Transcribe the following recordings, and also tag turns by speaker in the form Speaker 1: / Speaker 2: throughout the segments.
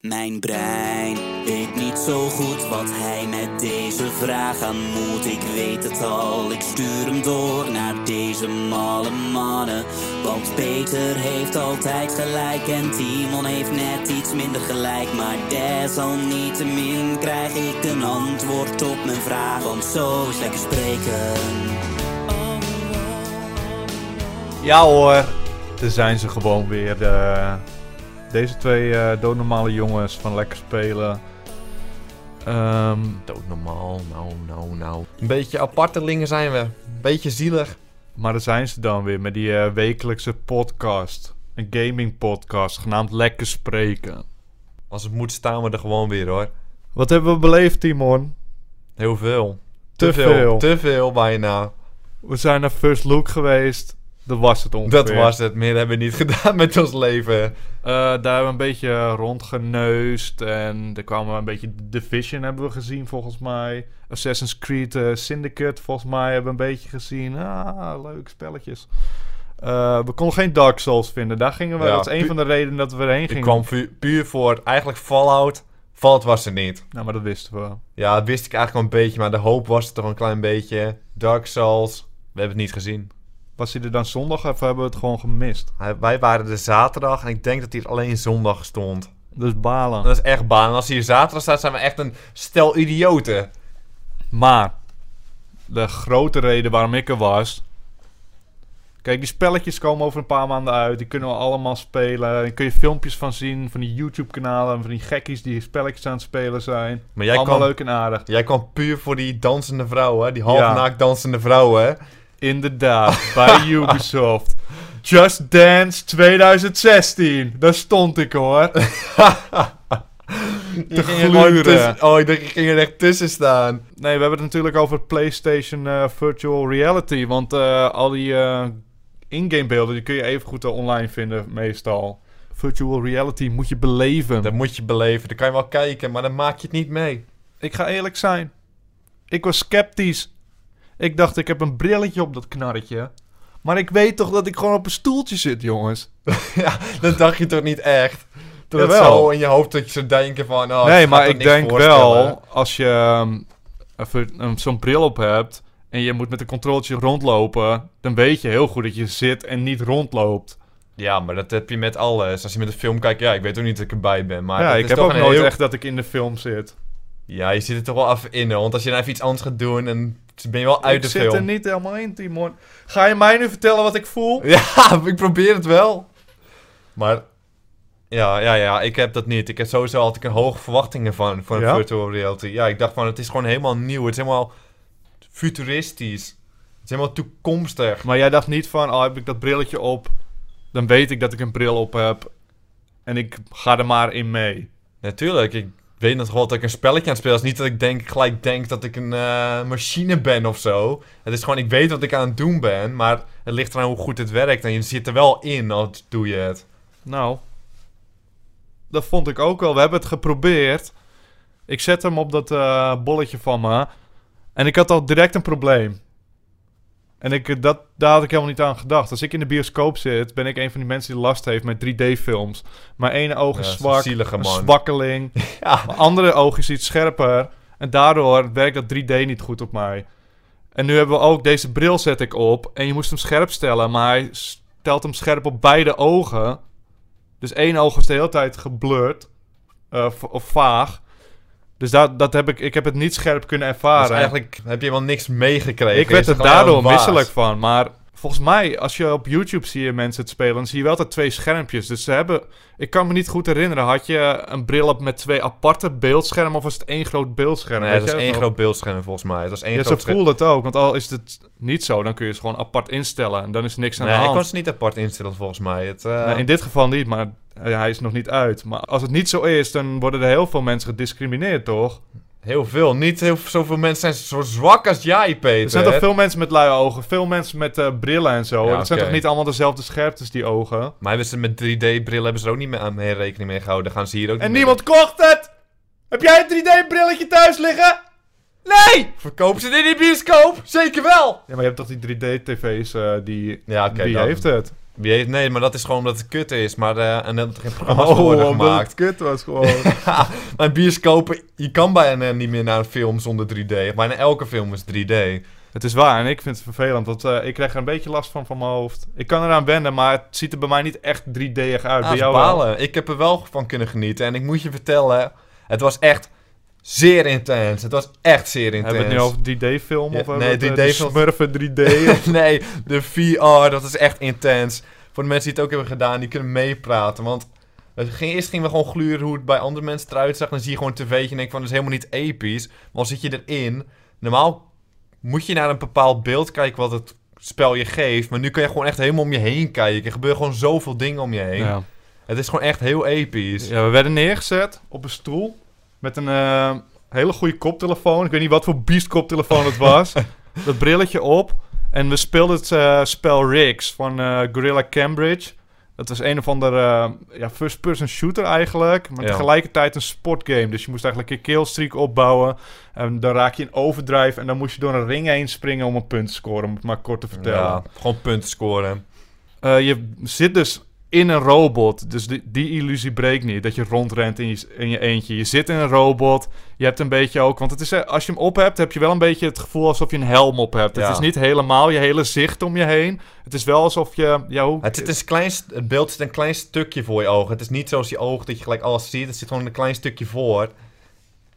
Speaker 1: Mijn brein weet niet zo goed wat hij met deze vraag aan moet. Ik weet het al, ik stuur hem door naar deze malle mannen. Want Peter heeft altijd gelijk en Timon heeft net iets minder gelijk. Maar desalniettemin krijg ik een antwoord op mijn vraag. Want zo is lekker spreken.
Speaker 2: Ja hoor, daar zijn ze gewoon weer. eh. deze twee eh doodnormale jongens van Lekker Spelen. Ehm,
Speaker 3: Doodnormaal, nou, nou, nou. Een beetje apartelingen zijn we. Een beetje zielig.
Speaker 2: maar daar zijn ze dan weer met die eh, wekelijkse podcast. Een gaming podcast genaamd Lekker Spreken.
Speaker 3: Als het moet staan we er gewoon weer hoor.
Speaker 2: Wat hebben we beleefd, Timon?
Speaker 3: Heel veel.
Speaker 2: Te veel.
Speaker 3: Te veel bijna.
Speaker 2: We zijn naar First Look geweest. Dat was het ongeveer.
Speaker 3: Dat was het. Meer hebben we niet gedaan met ons leven.
Speaker 2: Eh, daar hebben we een beetje rondgeneusd. En er kwamen een beetje Division hebben we gezien, volgens mij. Assassin's Creed eh, Syndicate, volgens mij, hebben we een beetje gezien. Ah, leuk spelletjes. Eh, we konden geen Dark Souls vinden. Daar gingen we.
Speaker 3: Ja,
Speaker 2: dat is een
Speaker 3: pu-
Speaker 2: van de redenen dat we erheen
Speaker 3: Ik
Speaker 2: gingen.
Speaker 3: kwam pu- puur voor eigenlijk Fallout. Fallout was er niet.
Speaker 2: Nou, maar dat wisten we.
Speaker 3: Ja, dat wist ik eigenlijk wel een beetje. Maar de hoop was er toch een klein beetje. Dark Souls. We hebben het niet gezien.
Speaker 2: Was hij er dan zondag of hebben we het gewoon gemist?
Speaker 3: Hij- Wij waren er zaterdag. En ik denk dat hij er alleen zondag stond.
Speaker 2: Dus balen.
Speaker 3: Dat is echt baan. En als hij hier zaterdag staat, zijn we echt een stel idioten.
Speaker 2: Maar de grote reden waarom ik er was. Kijk, die spelletjes komen over een paar maanden uit. Die kunnen we allemaal spelen. Daar kun je filmpjes van zien. Van die YouTube-kanalen. Van die gekkies die spelletjes aan het spelen zijn.
Speaker 3: Maar jij
Speaker 2: allemaal
Speaker 3: kwam,
Speaker 2: leuk en aardig.
Speaker 3: jij kwam puur voor die dansende vrouwen. Die halfnaakt dansende vrouwen.
Speaker 2: Inderdaad, bij Ubisoft. Just Dance 2016. Daar stond ik hoor.
Speaker 3: Die
Speaker 2: Te
Speaker 3: gingen gewoon
Speaker 2: gluren.
Speaker 3: tussen- Oh, ik dacht, ik ging er echt tussen staan.
Speaker 2: Nee, we hebben het natuurlijk over PlayStation eh, Virtual Reality. Want eh, al die eh, in-game beelden die kun je even goed eh, online vinden, meestal. Virtual reality moet je beleven.
Speaker 3: Dat moet je beleven. Dan kan je wel kijken, maar dan maak je het niet mee.
Speaker 2: Ik ga eerlijk zijn. Ik was sceptisch. Ik dacht, ik heb een brilletje op dat knarretje. Maar ik weet toch dat ik gewoon op een stoeltje zit, jongens.
Speaker 3: Oh, ja, dat dacht je toch niet echt? Toen het
Speaker 2: Jawel.
Speaker 3: zo in je hoofd dat je zou denken van... Oh, het
Speaker 2: nee,
Speaker 3: gaat
Speaker 2: maar
Speaker 3: toch
Speaker 2: ik
Speaker 3: niks
Speaker 2: denk
Speaker 3: voorstellen.
Speaker 2: wel, als je ehm, even, ehm, zo'n bril op hebt en je moet met een controltje rondlopen, dan weet je heel goed dat je zit en niet rondloopt.
Speaker 3: Ja, maar dat heb je met alles. Als je met een film kijkt, ja, ik weet ook niet dat ik erbij ben. Maar
Speaker 2: ja,
Speaker 3: dat
Speaker 2: ik
Speaker 3: is
Speaker 2: heb
Speaker 3: toch
Speaker 2: ook
Speaker 3: een
Speaker 2: nooit
Speaker 3: heel-
Speaker 2: echt dat ik in de film zit.
Speaker 3: Ja, je zit er toch wel even in, hoor. Want als je nou even iets anders gaat doen, dan ben je wel uit
Speaker 2: ik
Speaker 3: de
Speaker 2: zit
Speaker 3: film.
Speaker 2: er niet helemaal in, Timon. Ga je mij nu vertellen wat ik voel?
Speaker 3: Ja, ik probeer het wel. Maar ja, ja, ja, ik heb dat niet. Ik heb sowieso altijd een hoge verwachtingen van, van
Speaker 2: Ja?
Speaker 3: virtual reality. Ja, ik dacht van, het is gewoon helemaal nieuw. Het is helemaal futuristisch. Het is helemaal toekomstig.
Speaker 2: Maar jij dacht niet van, oh, heb ik dat brilletje op, dan weet ik dat ik een bril op heb. En ik ga er maar in mee.
Speaker 3: Natuurlijk, ik weet nog wel dat ik een spelletje aan het spelen is. Niet dat ik denk, gelijk denk dat ik een eh, machine ben of zo. Het is gewoon, ik weet wat ik aan het doen ben. Maar het ligt eraan hoe goed het werkt. En je zit er wel in als doe je het.
Speaker 2: Nou, dat vond ik ook wel. We hebben het geprobeerd. Ik zet hem op dat eh, bolletje van me. En ik had al direct een probleem. En ik, eh, dat, daar had ik helemaal niet aan gedacht. Als ik in de bioscoop zit, ben ik een van die mensen die last heeft met 3D-films. Mijn ene oog
Speaker 3: Ja,
Speaker 2: is
Speaker 3: zo'n
Speaker 2: zwak,
Speaker 3: zielige
Speaker 2: een
Speaker 3: man.
Speaker 2: zwakkeling.
Speaker 3: Ja.
Speaker 2: Mijn andere oog is iets scherper. En daardoor werkt dat 3D niet goed op mij. En nu hebben we ook deze bril zet ik op. En je moest hem scherp stellen. Maar hij stelt hem scherp op beide ogen. Dus één oog is de hele tijd geblurred. eh, v- of vaag. Dus dat, dat heb ik, ik heb het niet scherp kunnen ervaren.
Speaker 3: Dus eigenlijk heb je helemaal niks meegekregen.
Speaker 2: ik
Speaker 3: Je
Speaker 2: werd
Speaker 3: zit
Speaker 2: er
Speaker 3: gewoon
Speaker 2: daardoor
Speaker 3: helemaal waas.
Speaker 2: misselijk van. Maar volgens mij, als je op YouTube zie je mensen het spelen, dan zie je wel altijd twee schermpjes. Dus ze hebben. Ik kan me niet goed herinneren. Had je een bril op met twee aparte beeldschermen of was het één groot beeldscherm?
Speaker 3: Nee,
Speaker 2: Weet
Speaker 3: dat is
Speaker 2: jij
Speaker 3: één
Speaker 2: nog?
Speaker 3: groot beeldscherm volgens mij. Dat is één
Speaker 2: Ja,
Speaker 3: groot
Speaker 2: zo
Speaker 3: scherm.
Speaker 2: voelde het ook. Want al is het niet zo, dan kun je ze gewoon apart instellen. En dan is niks aan
Speaker 3: Nee,
Speaker 2: de
Speaker 3: ik
Speaker 2: hand.
Speaker 3: kon ze niet apart instellen volgens mij. Het, eh,
Speaker 2: Nee, in dit geval niet, maar eh, hij is nog niet uit. Maar als het niet zo is, dan worden er heel veel mensen gediscrimineerd, toch?
Speaker 3: Heel veel. Niet heel, zoveel mensen zijn zo zwak als jij, Peter.
Speaker 2: Er zijn toch veel mensen met luie ogen, veel mensen met eh, brillen en zo.
Speaker 3: Ja,
Speaker 2: dat zijn
Speaker 3: oké.
Speaker 2: toch niet allemaal dezelfde scherptes, die ogen?
Speaker 3: Maar hebben ze met 3D-brillen hebben ze er ook niet meer aan meer rekening mee gehouden. Gaan ze hier ook
Speaker 2: En
Speaker 3: niet
Speaker 2: niemand kocht het! Heb jij een 3D-brilletje thuis liggen?
Speaker 3: mee- Nee! Verkopen ze dit in die bioscoop? Zeker wel!
Speaker 2: Ja, maar je hebt toch die 3D-tv's eh, die...
Speaker 3: Ja, oké.
Speaker 2: die
Speaker 3: dan.
Speaker 2: heeft het.
Speaker 3: Wie heeft, nee, maar dat is gewoon omdat het kut is. Maar, eh, en dat er geen programma's
Speaker 2: Oh,
Speaker 3: voor worden
Speaker 4: omdat
Speaker 3: gemaakt.
Speaker 4: het kut was gewoon.
Speaker 3: Maar bioscopen, je kan bijna niet meer naar een film zonder 3D. Bijna elke film is 3D.
Speaker 2: Het is waar en ik vind het vervelend, want eh, ik krijg er een beetje last van van mijn hoofd. Ik kan eraan wennen, maar het ziet er bij mij niet echt 3D-ig uit.
Speaker 3: Ah,
Speaker 2: bij
Speaker 3: is
Speaker 2: jou wel?
Speaker 3: balen. Ik heb er wel van kunnen genieten. En ik moet je vertellen, het was echt zeer intens. Het was echt zeer intens.
Speaker 2: Hebben we het nu over 3D-film?
Speaker 3: Ja,
Speaker 2: of hebben
Speaker 3: nee,
Speaker 2: we het, eh, de
Speaker 3: 3D-film.
Speaker 2: Smurfen 3D?
Speaker 3: nee, de VR, dat is echt intens. Voor de mensen die het ook hebben gedaan, die kunnen meepraten. Want het ging, eerst gingen we gewoon gluren hoe het bij andere mensen eruit zag. Dan zie je gewoon een tv'tje en denk van, dat is helemaal niet episch. Maar dan zit je erin. Normaal moet je naar een bepaald beeld kijken wat het spel je geeft. Maar nu kan je gewoon echt helemaal om je heen kijken. Er gebeuren gewoon zoveel dingen om je heen.
Speaker 2: ja.
Speaker 3: Het is gewoon echt heel episch.
Speaker 2: ja, we werden neergezet op een stoel met een eh, hele goede koptelefoon. Ik weet niet wat voor beast koptelefoon het was. dat brilletje op en we speelden het eh, spel Rigs van eh, Guerrilla Cambridge. Dat was een of ander eh, ja, first-person shooter eigenlijk. Maar
Speaker 3: Ja.
Speaker 2: tegelijkertijd een sportgame. Dus je moest eigenlijk je killstreak opbouwen. En dan raak je in overdrive. En dan moest je door een ring heen springen om een punt te scoren. Om het maar kort te vertellen.
Speaker 3: Ja, gewoon punten scoren.
Speaker 2: Eh, je zit dus in een robot. Dus die, die illusie breekt niet. Dat je rondrent in je, in je eentje. Je zit in een robot. Je hebt een beetje ook. Want het is, eh, als je hem op hebt, heb je wel een beetje het gevoel alsof je een helm op hebt.
Speaker 3: Ja.
Speaker 2: Het is niet helemaal je hele zicht om je heen. Het is wel alsof je. Ja, hoe,
Speaker 3: Het, zit een klein, st- het beeld zit een klein stukje voor je ogen. Het is niet zoals je oog dat je gelijk alles ziet. Het zit gewoon een klein stukje voor.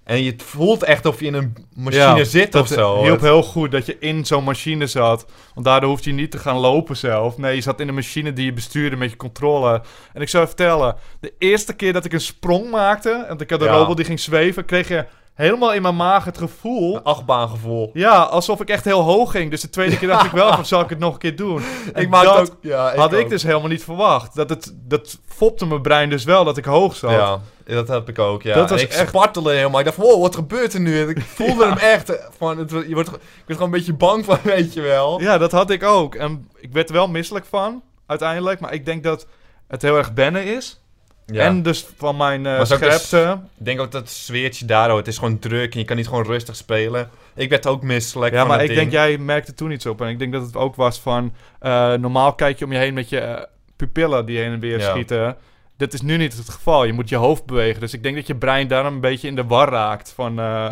Speaker 3: En je het voelt echt of je in een machine
Speaker 2: Ja,
Speaker 3: zit
Speaker 2: dat
Speaker 3: of zo.
Speaker 2: hielp
Speaker 3: Het-
Speaker 2: heel goed dat je in zo'n machine zat. Want daardoor hoefde je niet te gaan lopen zelf. Nee, je zat in een machine die je bestuurde met je controle. En ik zou je vertellen, de eerste keer dat ik een sprong maakte... want ik had een
Speaker 3: Ja.
Speaker 2: robot die ging zweven... kreeg je helemaal in mijn maag het gevoel...
Speaker 3: Een achtbaangevoel.
Speaker 2: Ja, alsof ik echt heel hoog ging. Dus de tweede keer dacht ik wel van, zal ik het nog een keer doen? En
Speaker 3: Ik maak
Speaker 2: dat
Speaker 3: ook... Ja,
Speaker 2: had ik
Speaker 3: ook.
Speaker 2: dus helemaal niet verwacht. Dat, het, dat fopte mijn brein dus wel dat ik hoog zat.
Speaker 3: Ja, dat heb ik ook, ja.
Speaker 2: Dat was
Speaker 3: En ik
Speaker 2: echt-
Speaker 3: spartelde helemaal. Ik dacht, wow, wat gebeurt er nu? En ik voelde hem echt. eh, Van, het, je wordt, ik werd gewoon een beetje bang van, weet je wel.
Speaker 2: Ja, dat had ik ook. En ik werd er wel misselijk van, uiteindelijk. Maar ik denk dat het heel erg wennen is.
Speaker 3: Ja.
Speaker 2: En dus van mijn eh
Speaker 3: Maar zou ik dus-
Speaker 2: scherpte.
Speaker 3: Ik denk ook dat het sfeertje daardoor, het is gewoon druk en je kan niet gewoon rustig spelen. Ik werd ook misselijk
Speaker 2: Ja,
Speaker 3: van
Speaker 2: maar ik
Speaker 3: het
Speaker 2: denk,
Speaker 3: ding.
Speaker 2: jij merkte toen iets op. En ik denk dat het ook was van... eh, normaal kijk je om je heen met je eh, pupillen die heen en weer
Speaker 3: Ja.
Speaker 2: schieten. Dat is nu niet het geval. Je moet je hoofd bewegen. Dus ik denk dat je brein daarom een beetje in de war raakt. Van, eh,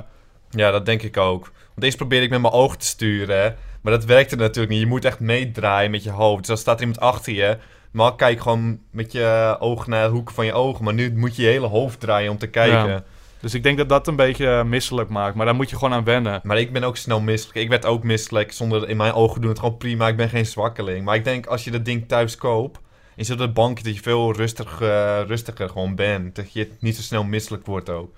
Speaker 3: Ja, dat denk ik ook. Want eerst probeerde ik met mijn oog te sturen, hè. maar dat werkte natuurlijk niet. Je moet echt meedraaien met je hoofd. Dus dan staat er iemand achter je. Maar kijk gewoon met je oog naar de hoeken van je ogen. Maar nu moet je je hele hoofd draaien om te kijken.
Speaker 2: Ja. dus ik denk dat dat een beetje eh, misselijk maakt. Maar daar moet je gewoon aan wennen.
Speaker 3: Maar ik ben ook snel misselijk. Ik werd ook misselijk. Zonder in mijn ogen doen het gewoon prima. Ik ben geen zwakkeling. Maar ik denk als je dat ding thuis koopt. en je zit op het bankje dat je veel rustig, eh, rustiger gewoon bent. Dat je niet zo snel misselijk wordt ook.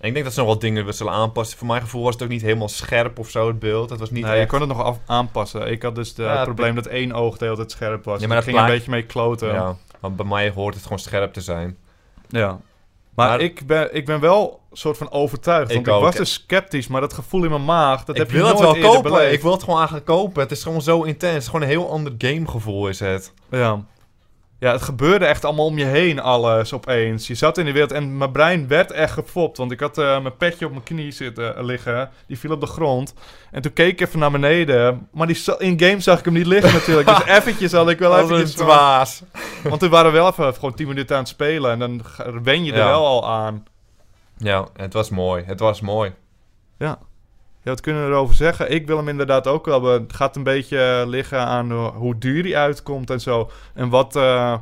Speaker 3: En ik denk dat ze nog wel dingen we zullen aanpassen. Voor mijn gevoel was het ook niet helemaal scherp of zo, het beeld. Het was niet
Speaker 2: Nee, Nou, je
Speaker 3: echt...
Speaker 2: kon het nog af- aanpassen. Ik had dus de-
Speaker 3: Ja,
Speaker 2: het
Speaker 3: het-
Speaker 2: probleem dat één oog de hele tijd scherp was.
Speaker 3: Ja, maar
Speaker 2: Ja, maar daar
Speaker 3: dat
Speaker 2: ging je een
Speaker 3: plaat-
Speaker 2: beetje mee kloten.
Speaker 3: Ja, want bij mij hoort het gewoon scherp te zijn.
Speaker 2: Ja. Maar,
Speaker 3: Maar-
Speaker 2: ik, ben, ik ben wel soort van overtuigd.
Speaker 3: Ik
Speaker 2: Want ik,
Speaker 3: ook.
Speaker 2: was dus sceptisch, maar dat gevoel in mijn maag, dat heb
Speaker 3: ik wil
Speaker 2: je
Speaker 3: het
Speaker 2: nooit
Speaker 3: wel
Speaker 2: eerder
Speaker 3: kopen.
Speaker 2: beleefd.
Speaker 3: Ik wil het gewoon eigenlijk kopen. Het is gewoon zo intens. Gewoon een heel ander gamegevoel is het.
Speaker 2: Ja. ja, het gebeurde echt allemaal om je heen alles opeens. Je zat in de wereld en mijn brein werd echt gefopt. Want ik had eh, mijn petje op mijn knie zitten eh, liggen. Die viel op de grond. En toen keek ik even naar beneden. Maar die za- in game zag ik hem niet liggen natuurlijk. dus eventjes had ik wel
Speaker 3: Wat
Speaker 2: eventjes...
Speaker 3: een
Speaker 2: van-
Speaker 3: dwaas.
Speaker 2: Want we waren wel even gewoon 10 minuten aan het spelen. En dan g- wen je er
Speaker 3: Ja.
Speaker 2: wel al aan.
Speaker 3: Ja, het was mooi. Het was mooi.
Speaker 2: Ja, wat kunnen we erover zeggen? Ik wil hem inderdaad ook wel. hebben. Het gaat een beetje eh, liggen aan ho- hoe duur die uitkomt en zo. En wat eh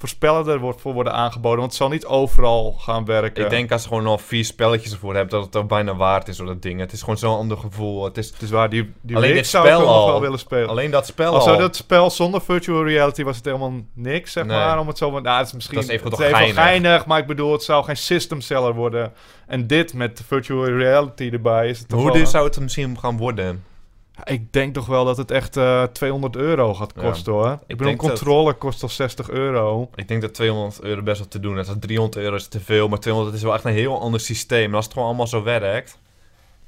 Speaker 2: voorspellen er wordt, voor worden aangeboden. Want het zal niet overal gaan werken.
Speaker 3: Ik denk als je gewoon al vier spelletjes ervoor hebt, dat het ook bijna waard is voor dat ding. Het is gewoon zo'n ander gevoel. Het is
Speaker 2: Het is waar, die, die
Speaker 3: Alleen
Speaker 2: Rick
Speaker 3: dit
Speaker 2: zou ik
Speaker 3: spel
Speaker 2: wel nog
Speaker 3: al.
Speaker 2: wel willen spelen.
Speaker 3: alleen dat spel
Speaker 2: Al
Speaker 3: al.
Speaker 2: zou dat spel zonder virtual reality was het helemaal niks, zeg
Speaker 3: Nee.
Speaker 2: maar. Om het zo maar, nou, het is misschien
Speaker 3: Dat is even
Speaker 2: het
Speaker 3: toch geinig.
Speaker 2: geinig, maar ik bedoel, het zou geen system seller worden. En dit met virtual reality erbij is het
Speaker 3: Maar
Speaker 2: toch
Speaker 3: Hoe
Speaker 2: wel-
Speaker 3: duur zou het misschien gaan worden?
Speaker 2: Ik denk toch wel dat het echt eh, 200 euro gaat
Speaker 3: Ja.
Speaker 2: kosten hoor. Ik bedoel, een
Speaker 3: denk dat-
Speaker 2: controller kost al 60 euro.
Speaker 3: Ik denk dat 200 euro best wel te doen is. Dat 300 euro is te veel, maar 200 is wel echt een heel ander systeem. En als het gewoon allemaal zo werkt,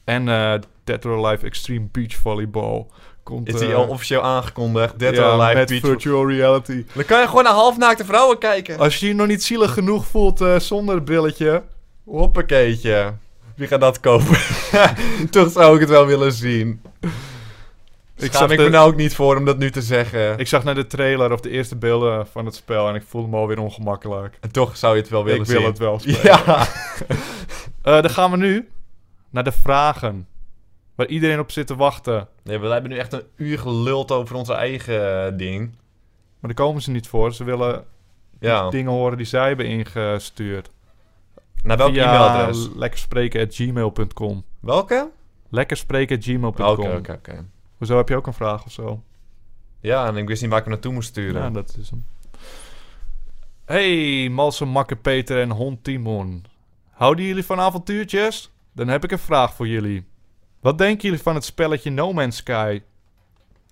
Speaker 2: En eh Dead or Alive Extreme Beach Volleyball. Komt,
Speaker 3: is
Speaker 2: eh,
Speaker 3: die al officieel aangekondigd. Dead
Speaker 2: ja,
Speaker 3: or Alive
Speaker 2: met
Speaker 3: Beach.
Speaker 2: virtual reality.
Speaker 3: Dan kan je gewoon naar halfnaakte vrouwen kijken.
Speaker 2: Als je je nog niet zielig genoeg voelt eh, zonder het brilletje.
Speaker 3: Hoppakeetje. Wie gaat dat kopen? Toch zou ik het wel willen zien. Ik
Speaker 2: Ik
Speaker 3: schaam
Speaker 2: zag,
Speaker 3: ik me
Speaker 2: de,
Speaker 3: nou ook niet voor om dat nu te zeggen.
Speaker 2: ik zag naar de trailer of de eerste beelden van het spel en ik voelde me alweer ongemakkelijk.
Speaker 3: En toch zou je het wel willen
Speaker 2: ik wil
Speaker 3: zien.
Speaker 2: het wel spelen.
Speaker 3: Ja.
Speaker 2: Eh, dan gaan we nu naar de vragen. Waar iedereen op zit te wachten.
Speaker 3: Nee, we hebben nu echt een uur geluld over onze eigen eh, ding.
Speaker 2: Maar daar komen ze niet voor. Ze willen
Speaker 3: Ja.
Speaker 2: dingen horen die zij hebben ingestuurd.
Speaker 3: Naar welk
Speaker 2: Via
Speaker 3: e-mailadres?
Speaker 2: lekkerspreken.gmail.com
Speaker 3: Welke?
Speaker 2: Lekkerspreken.gmail.com
Speaker 3: Oké, oké, oké.
Speaker 2: Hoezo heb je ook een vraag of zo?
Speaker 3: Ja, en ik wist niet waar ik hem naartoe moest sturen.
Speaker 2: Ja, dat is hem. Hey, Malse Makke Peter en Hond Timon. Houden jullie van avontuurtjes? Dan heb ik een vraag voor jullie. Wat denken jullie van het spelletje No Man's Sky?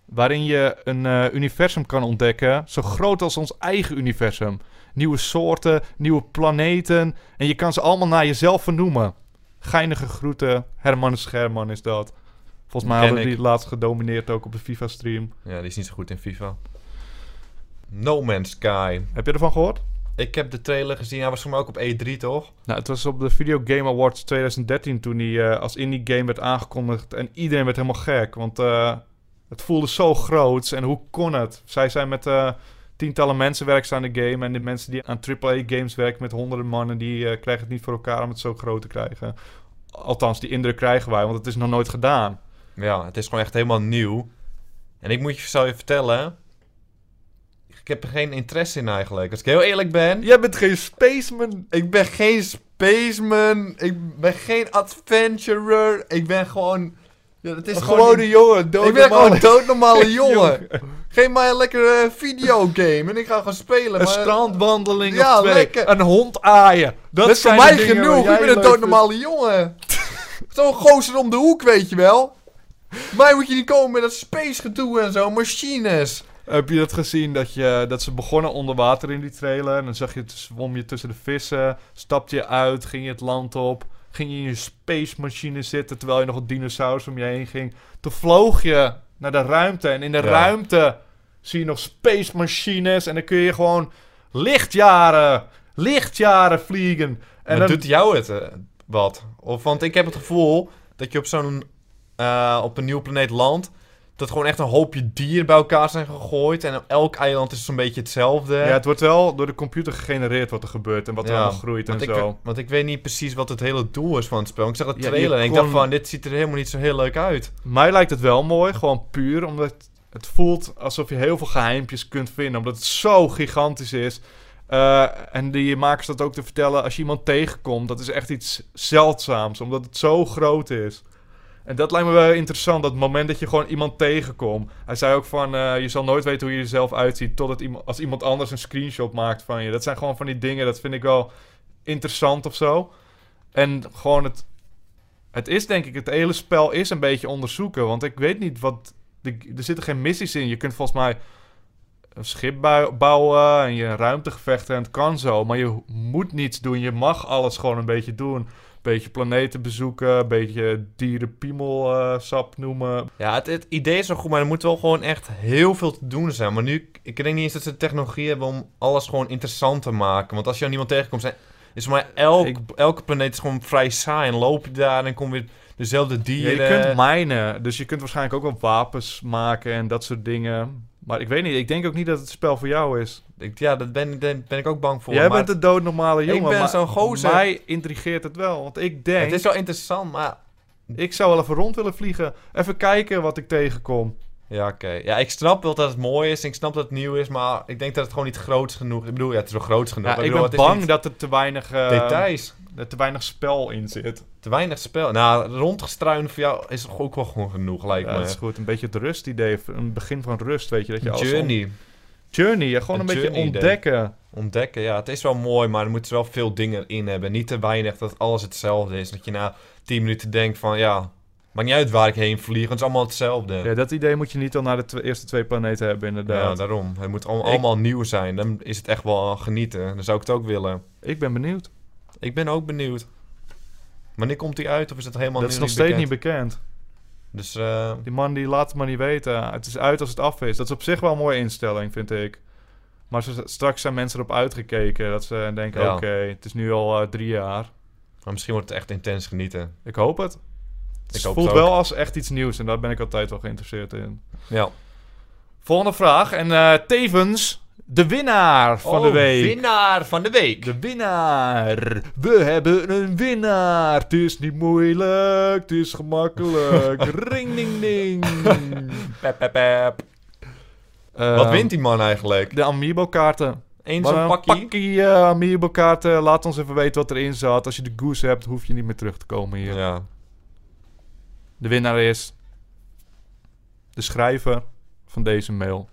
Speaker 2: Waarin je een eh, universum kan ontdekken, zo groot als ons eigen universum. Nieuwe soorten, nieuwe planeten en je kan ze allemaal naar jezelf vernoemen. Geinige groeten, Herman Scherman is dat. Volgens mij
Speaker 3: Ken
Speaker 2: hadden
Speaker 3: ik.
Speaker 2: die het laatst gedomineerd ook op de FIFA-stream.
Speaker 3: Ja, die is niet zo goed in FIFA. No Man's Sky.
Speaker 2: Heb je ervan gehoord?
Speaker 3: Ik heb de trailer gezien. Hij was voor mij ook op E3, toch?
Speaker 2: Nou, het was op de Video Game Awards 2013 toen hij eh, als indie game werd aangekondigd. En iedereen werd helemaal gek, want eh, het voelde zo groot. En hoe kon het? Zij zijn met eh, tientallen mensen werkzaam aan de game. En de mensen die aan AAA games werken met honderden mannen, die eh, krijgen het niet voor elkaar om het zo groot te krijgen. Althans, die indruk krijgen wij, want het is nog nooit gedaan.
Speaker 3: Ja, het is gewoon echt helemaal nieuw. En ik moet je, zou je vertellen... Ik heb er geen interesse in eigenlijk. Als ik heel eerlijk ben...
Speaker 2: Jij bent geen spaceman!
Speaker 3: Ik ben geen spaceman. Ik ben geen adventurer. Ik ben gewoon... Ja, het is
Speaker 2: Een
Speaker 3: gewoon...
Speaker 2: gewone jongen,
Speaker 3: ik ben gewoon een
Speaker 2: doodnormale
Speaker 3: doodnormale jongen. Geef mij een lekkere eh, videogame en ik ga gewoon spelen.
Speaker 2: Een
Speaker 3: maar-
Speaker 2: strandwandeling
Speaker 3: Ja,
Speaker 2: of twee.
Speaker 3: lekker.
Speaker 2: Een hond aaien. Dat,
Speaker 3: Dat, is voor
Speaker 2: zijn de
Speaker 3: mij
Speaker 2: dingen waar
Speaker 3: genoeg.
Speaker 2: jij
Speaker 3: Ik ben een
Speaker 2: leuk
Speaker 3: doodnormale jongen. Zo'n gozer om de hoek, weet je wel. Mij moet je niet komen met dat space gedoe en zo, machines.
Speaker 2: Heb je dat gezien dat, je, dat ze begonnen onder water in die trailer? En dan zag je, zwom je tussen de vissen, stapte je uit, ging je het land op, ging je in je space machine zitten terwijl je nog een dinosaurus om je heen ging. Toen vloog je naar de ruimte en in de
Speaker 3: Ja.
Speaker 2: ruimte zie je nog space machines en dan kun je gewoon lichtjaren, lichtjaren vliegen. En
Speaker 3: En
Speaker 2: dan,
Speaker 3: doet jou het eh, wat? Of, want ik heb het gevoel dat je op zo'n... eh, op een nieuwe planeet landt. Dat gewoon echt een hoopje dieren bij elkaar zijn gegooid. En op elk eiland is zo'n beetje hetzelfde.
Speaker 2: ja, het wordt wel door de computer gegenereerd wat er gebeurt en wat er
Speaker 3: Ja,
Speaker 2: allemaal groeit en
Speaker 3: Want ik,
Speaker 2: zo.
Speaker 3: we- want ik weet niet precies wat het hele doel is van het spel. Ik zag de
Speaker 2: Ja, je
Speaker 3: trailer en ik
Speaker 2: kon-
Speaker 3: dacht van, dit ziet er helemaal niet zo heel leuk uit.
Speaker 2: Mij lijkt het wel mooi, gewoon puur, omdat het voelt alsof je heel veel geheimpjes kunt vinden, omdat het zo gigantisch is. Eh, en die makers dat ook te vertellen, als je iemand tegenkomt, dat is echt iets zeldzaams, omdat het zo groot is. En dat lijkt me wel interessant, dat moment dat je gewoon iemand tegenkomt. Hij zei ook van, eh, je zal nooit weten hoe je er zelf uitziet, totdat iemand, als iemand anders een screenshot maakt van je. Dat zijn gewoon van die dingen, dat vind ik wel interessant of zo. En gewoon het het is denk ik, het hele spel is een beetje onderzoeken. Want ik weet niet wat. de- er zitten geen missies in. Je kunt volgens mij een schip bui- bouwen en je ruimtegevechten en het kan zo. Maar je ho- moet niets doen. Je mag alles gewoon een beetje doen. Beetje planeten bezoeken, een beetje dierenpiemelsap noemen.
Speaker 3: Ja, het, het idee is wel goed, maar er moet wel gewoon echt heel veel te doen zijn. Maar nu, ik denk niet eens dat ze de technologie hebben om alles gewoon interessant te maken. Want als je aan iemand tegenkomt, zijn, is voor mij elk,
Speaker 2: Ik-
Speaker 3: elke planeet is gewoon vrij saai. En loop je daar en kom weer dezelfde
Speaker 2: Ja, je
Speaker 3: dieren.
Speaker 2: kunt minen, dus je kunt waarschijnlijk ook wel wapens maken en dat soort dingen. Maar ik weet niet, ik denk ook niet dat het spel voor jou is.
Speaker 3: Ik- ja, daar ben, ik- daar ben ik ook bang voor.
Speaker 2: Jij
Speaker 3: maar
Speaker 2: bent een doodnormale jongen.
Speaker 3: ben
Speaker 2: maar
Speaker 3: zo'n gozer.
Speaker 2: Mij intrigeert het wel, want ik denk...
Speaker 3: het is wel interessant, maar...
Speaker 2: Ik zou wel even rond willen vliegen. Even kijken wat ik
Speaker 3: Nou,
Speaker 2: tegenkom.
Speaker 3: Ja, oké. Ja, ik snap wel dat het mooi is. en Ik snap dat het nieuw is, maar ik denk dat het gewoon niet groot genoeg is. Ik bedoel, ja, het is wel groot genoeg.
Speaker 2: Ja,
Speaker 3: maar
Speaker 2: ik
Speaker 3: bedoel,
Speaker 2: ben
Speaker 3: het is
Speaker 2: bang
Speaker 3: niet
Speaker 2: dat er te weinig, eh,
Speaker 3: Details.
Speaker 2: dat te weinig spel in zit.
Speaker 3: Te weinig spel. Nou, rondgestruin voor jou is toch ook wel gewoon genoeg, lijkt
Speaker 2: Ja,
Speaker 3: me.
Speaker 2: dat is goed. Een beetje het rustidee. Een begin van rust, weet je. Dat je alles ont-
Speaker 3: Journey.
Speaker 2: Journey, ja, gewoon
Speaker 3: Een
Speaker 2: een, beetje
Speaker 3: journey idee.
Speaker 2: ontdekken.
Speaker 3: Ontdekken, ja, het is wel mooi, maar er moeten wel veel dingen in hebben. Niet te weinig dat alles hetzelfde is. Dat je na 10 minuten denkt van, ja, maakt niet uit waar ik heen vlieg, het is allemaal hetzelfde.
Speaker 2: Ja, dat idee moet je niet al naar de tw- eerste twee planeten hebben,
Speaker 3: Ja,
Speaker 2: inderdaad.
Speaker 3: daarom. Het moet al-
Speaker 2: Ik-
Speaker 3: allemaal nieuw zijn. Dan is het echt wel genieten. Dan zou ik het ook willen.
Speaker 2: Ik ben benieuwd.
Speaker 3: Ik ben ook benieuwd. Wanneer komt die uit of is het helemaal
Speaker 2: dat
Speaker 3: nu
Speaker 2: is nog steeds
Speaker 3: bekend?
Speaker 2: niet bekend.
Speaker 3: Dus eh,
Speaker 2: Die man die laat het maar niet weten. Het is uit als het af is. Dat is op zich wel een mooie instelling, vind ik. Maar ze- straks zijn mensen erop uitgekeken. Dat ze denken,
Speaker 3: Ja.
Speaker 2: oké, het is nu al eh, drie jaar.
Speaker 3: maar misschien wordt het echt intens genieten.
Speaker 2: Ik hoop het. Het
Speaker 3: Ik hoop
Speaker 2: voelt
Speaker 3: het ook.
Speaker 2: wel als echt iets nieuws en daar ben ik altijd wel geïnteresseerd in.
Speaker 3: Ja.
Speaker 2: Volgende vraag. En eh, tevens de winnaar van de
Speaker 3: Oh,
Speaker 2: week.
Speaker 3: Winnaar van de week.
Speaker 2: De winnaar. We hebben een winnaar. Het is niet moeilijk. Het is gemakkelijk. Ring ding ding.
Speaker 3: Pep, pep, pep. Wat wint die man eigenlijk?
Speaker 2: Ehm, De Amiibo kaarten.
Speaker 3: Eén
Speaker 2: Wat
Speaker 3: zo'n
Speaker 2: een
Speaker 3: pakje.
Speaker 2: pakkie, eh, Amiibo kaarten. Laat ons even weten wat erin zat. Als je de goose hebt, hoef je niet meer terug te komen hier.
Speaker 3: Ja.
Speaker 2: De winnaar is... De schrijver van deze mail.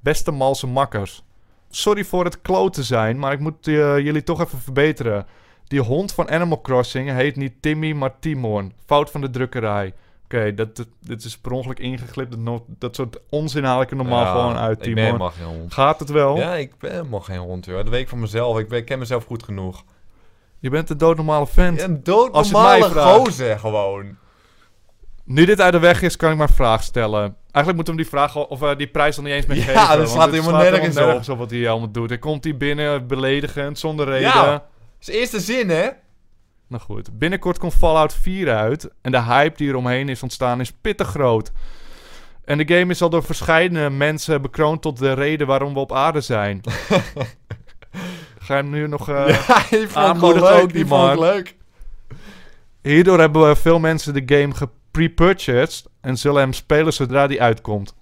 Speaker 2: Beste malse makkers. Sorry voor het kloten zijn, maar ik moet eh, jullie toch even verbeteren. Die hond van Animal Crossing heet niet Timmy, maar Timon. Fout van de drukkerij. Oké, dat, dat- dit is per ongeluk ingeglipt. Dat, no- dat soort onzin haal ik er normaal
Speaker 3: Ja,
Speaker 2: gewoon uit, Oh?
Speaker 3: Ik ben
Speaker 2: Timon.
Speaker 3: helemaal geen hond.
Speaker 2: Gaat het wel?
Speaker 3: Ja, ik ben helemaal geen hond, joh. Dat weet ik van mezelf. Ik, ben- ik ken mezelf goed genoeg.
Speaker 2: Je bent een doodnormale fan.
Speaker 3: Een
Speaker 2: Als je het mij
Speaker 3: doodnormale
Speaker 2: vraagt.
Speaker 3: gozer gewoon.
Speaker 2: Nu dit uit de weg is, kan ik mijn vraag stellen. Eigenlijk moeten we hem die, vraag, al- of, eh, die prijs dan niet eens meer
Speaker 3: Ja,
Speaker 2: geven.
Speaker 3: dat
Speaker 2: want
Speaker 3: slaat
Speaker 2: dit
Speaker 3: helemaal nergens op.
Speaker 2: op. wat hij allemaal doet. Dan komt hij binnen, beledigend, zonder reden.
Speaker 3: Ja. Zijn eerste zin, hè?
Speaker 2: Nou goed, binnenkort komt Fallout 4 uit. En de hype die eromheen is ontstaan is pittig groot. En de game is al door verschillende mensen bekroond tot de reden waarom we op aarde zijn. Ga je hem nu nog... eh,
Speaker 3: ja, die vond ik wel
Speaker 2: aanmoedigt ook
Speaker 3: leuk.
Speaker 2: die
Speaker 3: Die vond ik
Speaker 2: man.
Speaker 3: leuk.
Speaker 2: Hierdoor hebben we veel mensen de game gepre-purchased en zullen hem spelen zodra die uitkomt.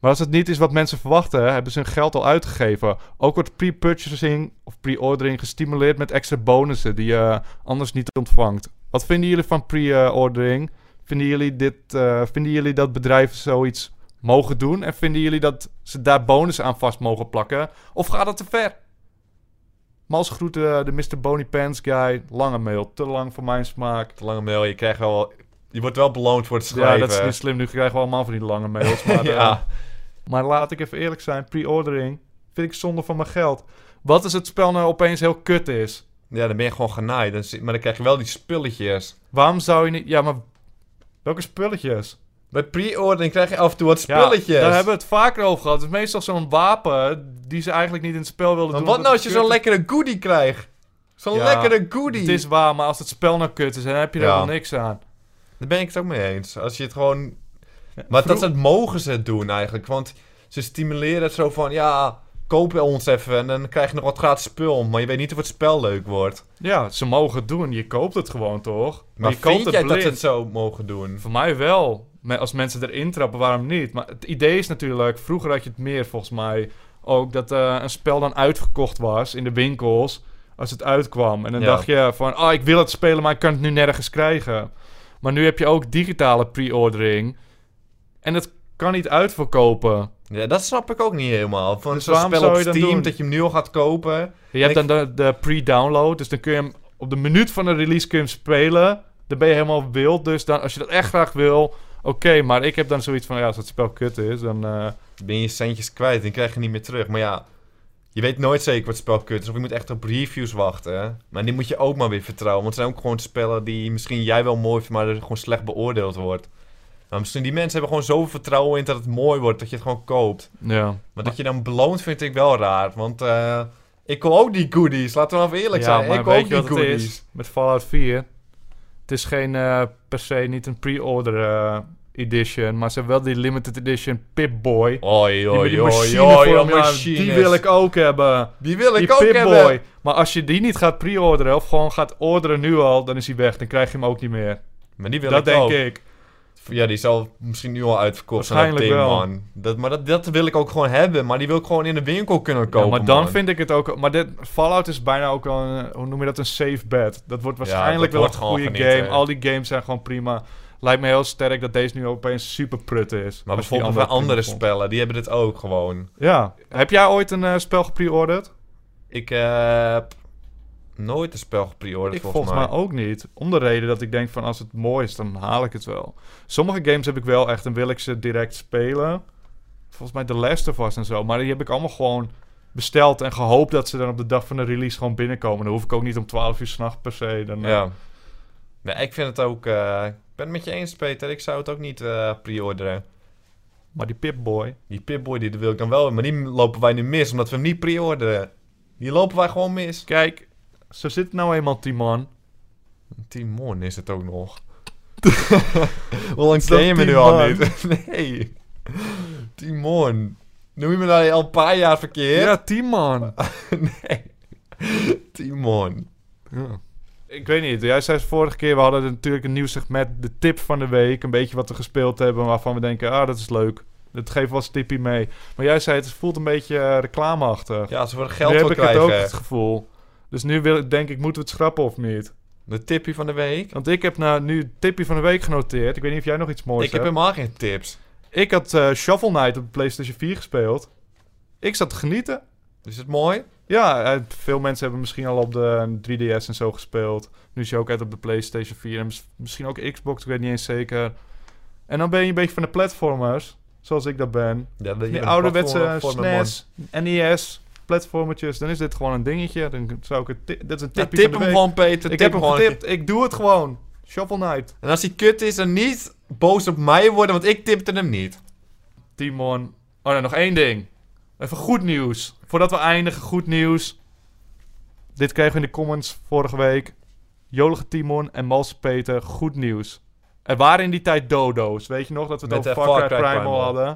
Speaker 2: Maar als het niet is wat mensen verwachten, hebben ze hun geld al uitgegeven. Ook wordt pre-purchasing of pre-ordering gestimuleerd met extra bonussen die je anders niet ontvangt. Wat vinden jullie van pre-ordering? Vinden jullie, dit, eh, vinden jullie dat bedrijven zoiets mogen doen? En vinden jullie dat ze daar bonussen aan vast mogen plakken? Of gaat dat te ver? Mals groeten eh, de Mr. Boney Pants guy. Lange mail, te lang voor mijn smaak.
Speaker 3: Te lange mail. Je krijgt wel... Je wordt wel beloond voor het schrijven.
Speaker 2: Ja, dat is niet slim. Nu krijgen we allemaal van die lange mails. Maar,
Speaker 3: Ja.
Speaker 2: eh, maar laat ik even eerlijk zijn. Pre-ordering vind ik zonde van mijn geld. Wat is het spel nou opeens heel kut is?
Speaker 3: Ja, dan ben je gewoon genaaid. Dan zit- maar dan krijg je wel die spulletjes.
Speaker 2: Waarom zou je niet... Ja, maar welke spulletjes?
Speaker 3: Bij pre-ordering krijg je af en toe wat
Speaker 2: Ja,
Speaker 3: spulletjes.
Speaker 2: daar hebben we het vaker over gehad. Het is meestal zo'n wapen die ze eigenlijk niet in het spel wilden
Speaker 3: Maar
Speaker 2: doen.
Speaker 3: wat nou
Speaker 2: omdat
Speaker 3: als je
Speaker 2: het
Speaker 3: zo'n
Speaker 2: kut
Speaker 3: lekkere goodie krijgt? Zo'n
Speaker 2: Ja,
Speaker 3: lekkere
Speaker 2: is?
Speaker 3: goodie.
Speaker 2: Het is waar, maar als het spel nou kut is, dan heb je er
Speaker 3: Ja.
Speaker 2: wel niks aan.
Speaker 3: Daar ben ik het ook mee eens. Als je het gewoon... Maar dat,
Speaker 2: vroeg-
Speaker 3: dat mogen ze het doen eigenlijk. Want ze stimuleren het zo van... Ja, koop bij ons even en dan krijg je nog wat gratis spul. Maar je weet niet of het spel leuk wordt.
Speaker 2: Ja, ze mogen het doen. Je koopt het gewoon, toch? Maar,
Speaker 3: Maar
Speaker 2: je koopt
Speaker 3: vind
Speaker 2: het
Speaker 3: jij dat
Speaker 2: blind.
Speaker 3: ze het zo mogen doen?
Speaker 2: Voor mij wel. Me- Als mensen erin trappen, waarom niet? Maar het idee is natuurlijk, vroeger had je het meer volgens mij ook dat eh, een spel dan uitverkocht was in de winkels als het uitkwam. En dan
Speaker 3: Ja.
Speaker 2: dacht je van, ah, ik wil het spelen, maar ik kan het nu nergens krijgen. Maar nu heb je ook digitale pre-ordering en dat kan niet uitverkopen.
Speaker 3: Ja, dat snap ik ook niet helemaal. Van
Speaker 2: Dus
Speaker 3: zo'n
Speaker 2: waarom
Speaker 3: spel
Speaker 2: zou
Speaker 3: op
Speaker 2: je dat
Speaker 3: Steam
Speaker 2: doen?
Speaker 3: dat je hem nu al gaat kopen.
Speaker 2: Je hebt
Speaker 3: Ik-
Speaker 2: dan de, de pre-download, dus dan kun je hem op de minuut van de release kun je hem spelen. Dan ben je helemaal wild, dus dan, als je dat echt graag wil, oké. maar ik heb dan zoiets van, ja, als het spel kut is, dan... eh,
Speaker 3: Dan ben je je centjes kwijt en krijg je niet meer terug. Maar ja, je weet nooit zeker wat spel kut is. Of je moet echt op reviews wachten. hè. Maar die moet je ook maar weer vertrouwen. Want het zijn ook gewoon spellen die misschien jij wel mooi vindt, maar dat het gewoon slecht beoordeeld wordt. Maar misschien die mensen hebben gewoon zoveel vertrouwen in dat het mooi wordt, dat je het gewoon koopt.
Speaker 2: Ja.
Speaker 3: Maar dat je dan beloond vind ik wel raar. Want eh, ik wil ook die goodies. Laten we wel even eerlijk zijn. Ik wil ook die goodies.
Speaker 2: Met Fallout 4. Het is geen, eh, per se niet een pre-order eh, edition, maar ze hebben wel die limited edition Pip-Boy.
Speaker 3: Oei,
Speaker 2: Die met
Speaker 3: oei,
Speaker 2: die
Speaker 3: oei,
Speaker 2: machine
Speaker 3: oei,
Speaker 2: voor
Speaker 3: oei,
Speaker 2: hem, ja, Die
Speaker 3: oh, machines.
Speaker 2: wil ik ook hebben.
Speaker 3: Die wil ik
Speaker 2: die
Speaker 3: ook hebben.
Speaker 2: Pip-Boy. Maar als je die niet gaat pre-orderen of gewoon gaat orderen nu al, dan is hij weg. Dan krijg je hem ook niet meer.
Speaker 3: Maar die wil
Speaker 2: dat
Speaker 3: ik
Speaker 2: denk
Speaker 3: ook.
Speaker 2: ik.
Speaker 3: Ja, die zal misschien nu al uitverkocht zijn.
Speaker 2: Waarschijnlijk
Speaker 3: dat
Speaker 2: wel.
Speaker 3: ding, man. Dat, maar dat, dat wil ik ook gewoon hebben. Maar die wil ik gewoon in de winkel kunnen
Speaker 2: Ja,
Speaker 3: kopen.
Speaker 2: maar dan
Speaker 3: man.
Speaker 2: vind ik het ook... Maar dit, Fallout is bijna ook wel een... Hoe noem je dat? Een safe bet. Dat wordt
Speaker 3: dat
Speaker 2: waarschijnlijk wel
Speaker 3: wordt
Speaker 2: een
Speaker 3: gewoon
Speaker 2: goede
Speaker 3: genieten, hè.
Speaker 2: game. Al die games zijn gewoon prima. Lijkt me heel sterk dat deze nu opeens super prut is.
Speaker 3: Maar
Speaker 2: Als je die
Speaker 3: bijvoorbeeld bij
Speaker 2: prima
Speaker 3: andere
Speaker 2: vond.
Speaker 3: spellen, die hebben dit ook gewoon.
Speaker 2: Ja. Heb jij ooit een eh, spel gepreorderd?
Speaker 3: Ik heb nooit een spel gepreorderd
Speaker 2: Ik
Speaker 3: volgens,
Speaker 2: volgens
Speaker 3: mij.
Speaker 2: mij ook niet. Om de reden dat ik denk van als het mooi is, dan haal ik het wel. Sommige games heb ik wel echt en wil ik ze direct spelen. Volgens mij The Last of Us en zo. Maar die heb ik allemaal gewoon besteld en gehoopt dat ze dan op de dag van de release gewoon binnenkomen. Dan hoef ik ook niet om 12 uur s'nachts per se. Dan, eh,
Speaker 3: Ja. Nee, ik vind het ook... eh, ik ben het met je eens, Peter. Ik zou het ook niet eh preorderen.
Speaker 2: Maar die Pip-Boy.
Speaker 3: Die Pipboy, die wil ik dan wel. Maar die lopen wij nu mis, omdat we hem niet preorderen. Die lopen wij gewoon mis.
Speaker 2: Kijk, zo zit nou eenmaal die man.
Speaker 3: Timon is het ook nog. Hoe lang
Speaker 2: Is dat
Speaker 3: ken je me nu
Speaker 2: Timon?
Speaker 3: al niet? nee. Timon. Noem je me nou al een paar jaar verkeerd?
Speaker 2: Ja, team man.
Speaker 3: nee. Timon.
Speaker 2: Ja. Ik weet niet. Jij zei vorige keer, we hadden natuurlijk een nieuw segment, de tip van de week. Een beetje wat we gespeeld hebben, waarvan we denken, ah, dat is leuk. Dat geeft wel eens tipje mee. Maar jij zei, het voelt een beetje eh, reclameachtig.
Speaker 3: Ja, ze worden geld
Speaker 2: nu
Speaker 3: voor
Speaker 2: heb ik
Speaker 3: krijgen.
Speaker 2: het ook het gevoel. Dus nu wil, ik- denk ik, moeten we het schrappen of niet?
Speaker 3: De tipje van de week.
Speaker 2: Want ik heb nou nu tipje van de week genoteerd. Ik weet niet of jij nog iets moois
Speaker 3: Ik heb
Speaker 2: hebt.
Speaker 3: helemaal geen tips.
Speaker 2: Ik had eh Shovel Knight op de PlayStation 4 gespeeld. Ik zat te genieten.
Speaker 3: Is het mooi?
Speaker 2: Ja, eh, veel mensen hebben misschien al op de 3DS en zo gespeeld. Nu is je ook uit op de PlayStation 4 en mis- misschien ook Xbox, ik weet niet eens zeker. En dan ben je een beetje van de platformers, zoals ik dat ben.
Speaker 3: Ja,
Speaker 2: Die ouderwetse E SNES, NES, platformertjes, dan is dit gewoon een dingetje. Dan zou ik het... ti- Dit is een tipje
Speaker 3: tip
Speaker 2: van
Speaker 3: hem
Speaker 2: de week.
Speaker 3: gewoon, Peter.
Speaker 2: Ik
Speaker 3: tip
Speaker 2: heb
Speaker 3: hem
Speaker 2: hem
Speaker 3: gewoon.
Speaker 2: getipt, ik doe het gewoon. Shovel Knight,
Speaker 3: En als hij kut is, dan niet boos op mij worden, want ik tipte hem niet.
Speaker 2: Timon. Oh, nee, nog één ding. Even goed nieuws. Voordat we eindigen, goed nieuws. Dit kregen we in de comments vorige week. Jolige Timon en Malse Peter, goed nieuws. Er waren in die tijd dodo's. Weet je nog dat we het
Speaker 3: Met
Speaker 2: over
Speaker 3: de
Speaker 2: Far Cry Primal,
Speaker 3: Primal.
Speaker 2: hadden?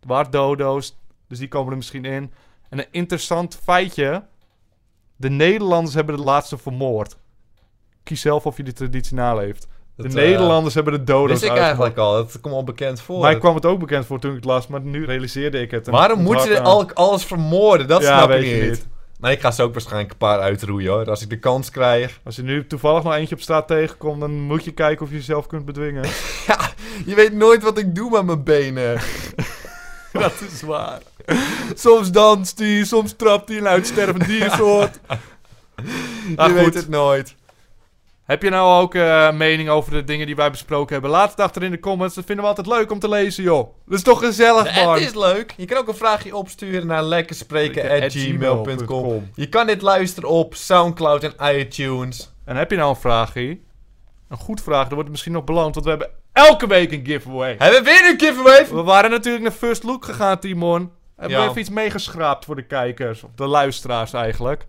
Speaker 2: Er waren dodo's, dus die komen er misschien in. En een interessant feitje. De Nederlanders hebben de laatste vermoord. Kies zelf of je die traditie naleeft. De
Speaker 3: Dat, eh,
Speaker 2: Nederlanders hebben de dodo's
Speaker 3: wist ik
Speaker 2: uitgemoord.
Speaker 3: eigenlijk al. Dat komt al bekend voor.
Speaker 2: Mij kwam het ook bekend voor toen ik het las, maar nu realiseerde ik het. En
Speaker 3: Waarom
Speaker 2: het
Speaker 3: moeten ze
Speaker 2: hard aan.
Speaker 3: al- alles vermoorden? Dat
Speaker 2: Ja,
Speaker 3: snap ik
Speaker 2: weet je
Speaker 3: niet.
Speaker 2: niet.
Speaker 3: Maar ik ga ze ook waarschijnlijk een paar uitroeien hoor. Als ik de kans krijg.
Speaker 2: Als je nu toevallig nog eentje op straat tegenkomt, dan moet je kijken of je jezelf kunt bedwingen.
Speaker 3: Ja, je weet nooit wat ik doe met mijn benen. dat is waar.
Speaker 2: soms danst hij, soms trapt hij een uitstervend diersoort.
Speaker 3: je
Speaker 2: nou,
Speaker 3: weet
Speaker 2: goed.
Speaker 3: het nooit.
Speaker 2: Heb je nou ook eh, mening over de dingen die wij besproken hebben? Laat het achter in de comments. Dat vinden we altijd leuk om te lezen, joh. Dat is toch gezellig, man.
Speaker 3: Het is leuk. Je kan ook een vraagje opsturen naar lekkerspreken.gmail.com. Je kan dit luisteren op Soundcloud en iTunes.
Speaker 2: En heb je nou een vraagje? Een goed vraag, dan wordt het misschien nog beloond, want we hebben elke week een giveaway.
Speaker 3: Hebben we weer een giveaway?
Speaker 2: We waren natuurlijk naar First Look gegaan, Timon. Hebben
Speaker 3: Ja.
Speaker 2: we even iets meegeschraapt voor de kijkers. Of de luisteraars eigenlijk.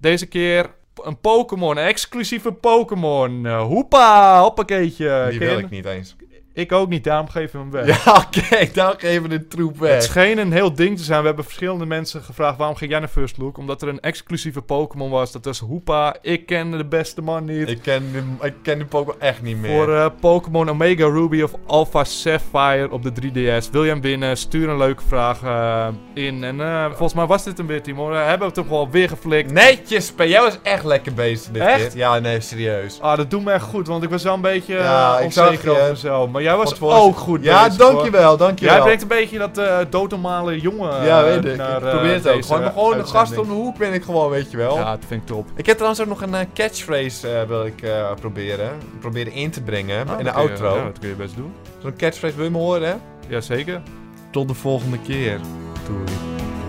Speaker 2: Deze keer een Pokémon. Een exclusieve Pokémon. Eh, hoepa, hoppakeetje.
Speaker 3: Die
Speaker 2: eh, Ken je
Speaker 3: wil
Speaker 2: hem?
Speaker 3: ik niet eens.
Speaker 2: Ik ook niet, daarom geven we hem weg.
Speaker 3: Ja, oké, dan geven we de troep
Speaker 2: Het
Speaker 3: weg.
Speaker 2: scheen een heel ding te zijn. We hebben verschillende mensen gevraagd waarom ging jij naar First Look? Omdat er een exclusieve Pokémon was. Dat is Hoepa. Ik ken de beste man niet.
Speaker 3: Ik ken, de, ik ken de Pokémon echt niet meer.
Speaker 2: Voor eh, Pokémon Omega Ruby of Alpha Sapphire op de 3DS. Wil je hem winnen? Stuur een leuke vraag eh, in. En eh, volgens mij was dit hem weer, Timon. We hebben het hem gewoon weer geflikt.
Speaker 3: Netjes, bij jou is echt lekker bezig dit
Speaker 2: eh, Echt?
Speaker 3: keer. Ja, nee, serieus.
Speaker 2: Ah, dat doet me echt goed, want ik was wel een beetje eh,
Speaker 3: Ja, ik zag
Speaker 2: onzeker
Speaker 3: je.
Speaker 2: over mezelf. Maar jij was
Speaker 3: Wat voor-
Speaker 2: ook goed
Speaker 3: Ja,
Speaker 2: bezig, hoor.
Speaker 3: dankjewel, dankjewel.
Speaker 2: Jij brengt een beetje dat eh doodnormale jongen eh,
Speaker 3: Ja, weet ik.
Speaker 2: naar,
Speaker 3: ik
Speaker 2: eh,
Speaker 3: probeer het ook.
Speaker 2: deze
Speaker 3: Gewoon, gewoon een gast om
Speaker 2: uitzending.
Speaker 3: de hoek ben ik gewoon, weet je wel.
Speaker 2: Ja, dat vind ik top.
Speaker 3: Ik heb trouwens ook nog een eh, catchphrase eh, wil ik eh, proberen. Proberen in te brengen
Speaker 2: Ah,
Speaker 3: in de
Speaker 2: dat kun je-
Speaker 3: outro.
Speaker 2: Ja, dat kun je best doen.
Speaker 3: Zo'n catchphrase wil je me horen, hè?
Speaker 2: Jazeker.
Speaker 3: Tot de volgende keer. Doei.